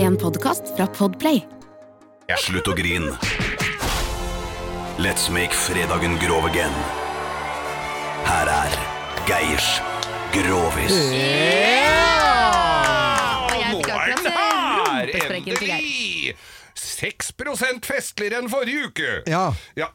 En podkast fra Podplay. Slutt å grin. Let's make fredagen grov again. Her er Geirs Grovis. Og jeg fikk akkurat Nå er den eh, her, rumpesprekken til Geir. endelig! 6 festligere enn forrige uke! Ja. Ja.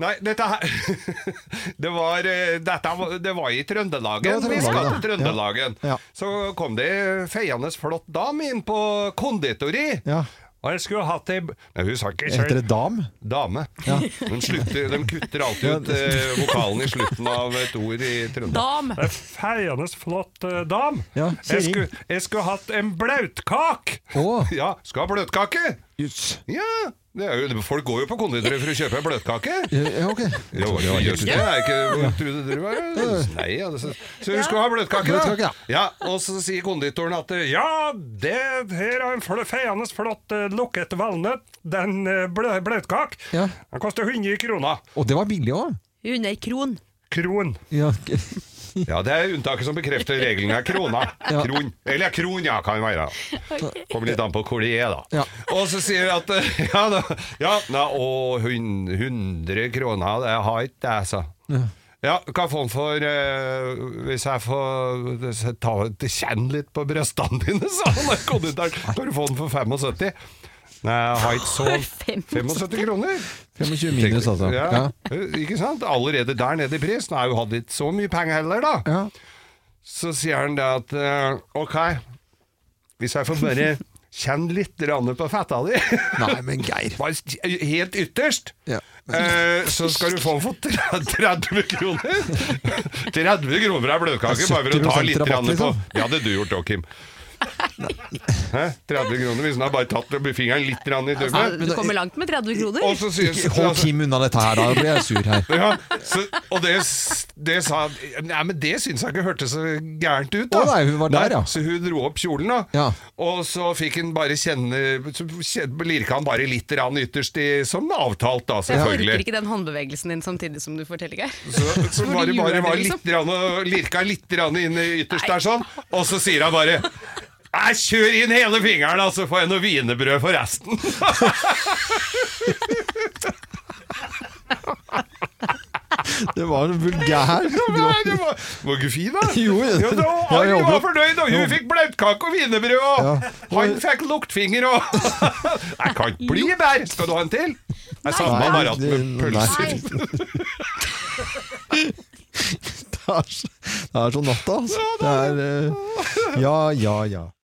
Nei, dette her Det var, eh, dette, var- det var i Det Trøndelagen. var Vi skal Trøndelagen, til ja. Trøndelagen. Ja. Så kom det feiende flott dame inn på konditori. Ja. Og jeg skulle hatt ei b- Nei, hun sa ikke Heter selv. det dam? Dame. Hun slutter, de kutter alltid ut Ja. eh, vokalen i slutten av et ord i Trøndelag. Dam. Det er Feiende flott eh, dam. Ja, jeg, sier skulle, jeg skulle hatt en blautkak! Å. Ja, skal ha bløtkake! Jøss. Ja, det er jo, folk går jo på konditori for å kjøpe en bløtkake. Ja, ok. Jo, jo, jøss, det er ikke hvor trodde du var Nei, ja, det, så, så hun skulle ha bløtkake, Bløtkake, da. ja. Ja, og så sier konditoren at eh, Ja, det her er en fl- feiende flott eh, lukket valnøtt. Den eh, blø, bløtkak. Ja. Den koster 100 kroner. Og det var billig òg. Under kron. Kron. Ja, ok. Ja, det er unntaket som bekrefter regelen er krona. Ja. Kron. Eller ja, kron, ja, kan være. Kommer litt an på hvor de er, da. Ja. Og så sier jeg at eh, Ja, da, ja na, og hun- 100 kroner, det har ikke jeg, sa ja. ja, hva får han for eh, Hvis jeg får ta, kjenne litt på brøstene dine, sa han. Konditoren. Kan du få den for 75? Nei, jeg har ikke så For 75 kroner? 25 minus, altså. Ja. Ja. Ikke sant? Allerede der nede i pris. Nå har jeg jo hatt ikke så mye penger heller, da. Ja. Så sier han det at eh, Ok, hvis jeg får bare kjenne litt grann på fetta di Nei, men Geir. bare Helt ytterst. Ja. eh, så skal du få den for tre- 30 kroner! 30 kroner er bløtkake, bare for å ta 70% litt rabatt, grann på liksom. Det hadde du gjort òg, Kim. Hæ? 30 kroner hvis han har bare tatt fingeren litt grann i Ja, tømmet. du kommer langt med 30 Og kroner. så sier Altså, altså- Ikke hold Kim unna dette her, da blir jeg sur her. Ja, så, og det, s- det sa Nei, men det syns jeg ikke hørtes så gærent ut, da. Å, nei, hun var der, ja. Så hun dro opp kjolen, da. Ja. Og så fikk han bare kjenne Så kjen- lirka han bare litt rann ytterst i, som avtalt, da, Jeg orker selvfølgelig. ikke den håndbevegelsen din samtidig som du forteller, Geir. Så, så Hvor bare, gjør bare det, var liksom? litt rann, og lirka litt rann inn i Nei. ytterst der, sånn. Og så sier han bare Nei, kjør inn hele fingeren, da, så får jeg noe wienerbrød for resten. Det var en vulgær Nei, det var, var ikke fin, da. Jo, ja, ja. da Ja, Ari jeg var håper- fornøyd, og hun Jo. fikk blautkake og wienerbrød, og Ja. han fikk luktfinger og Jeg kan ikke bli bedre! Skal du ha en til? Jeg savna Nei, bare at med det- pølser. Det er så- det er så natta, altså. Det er eh, Ja, ja, ja.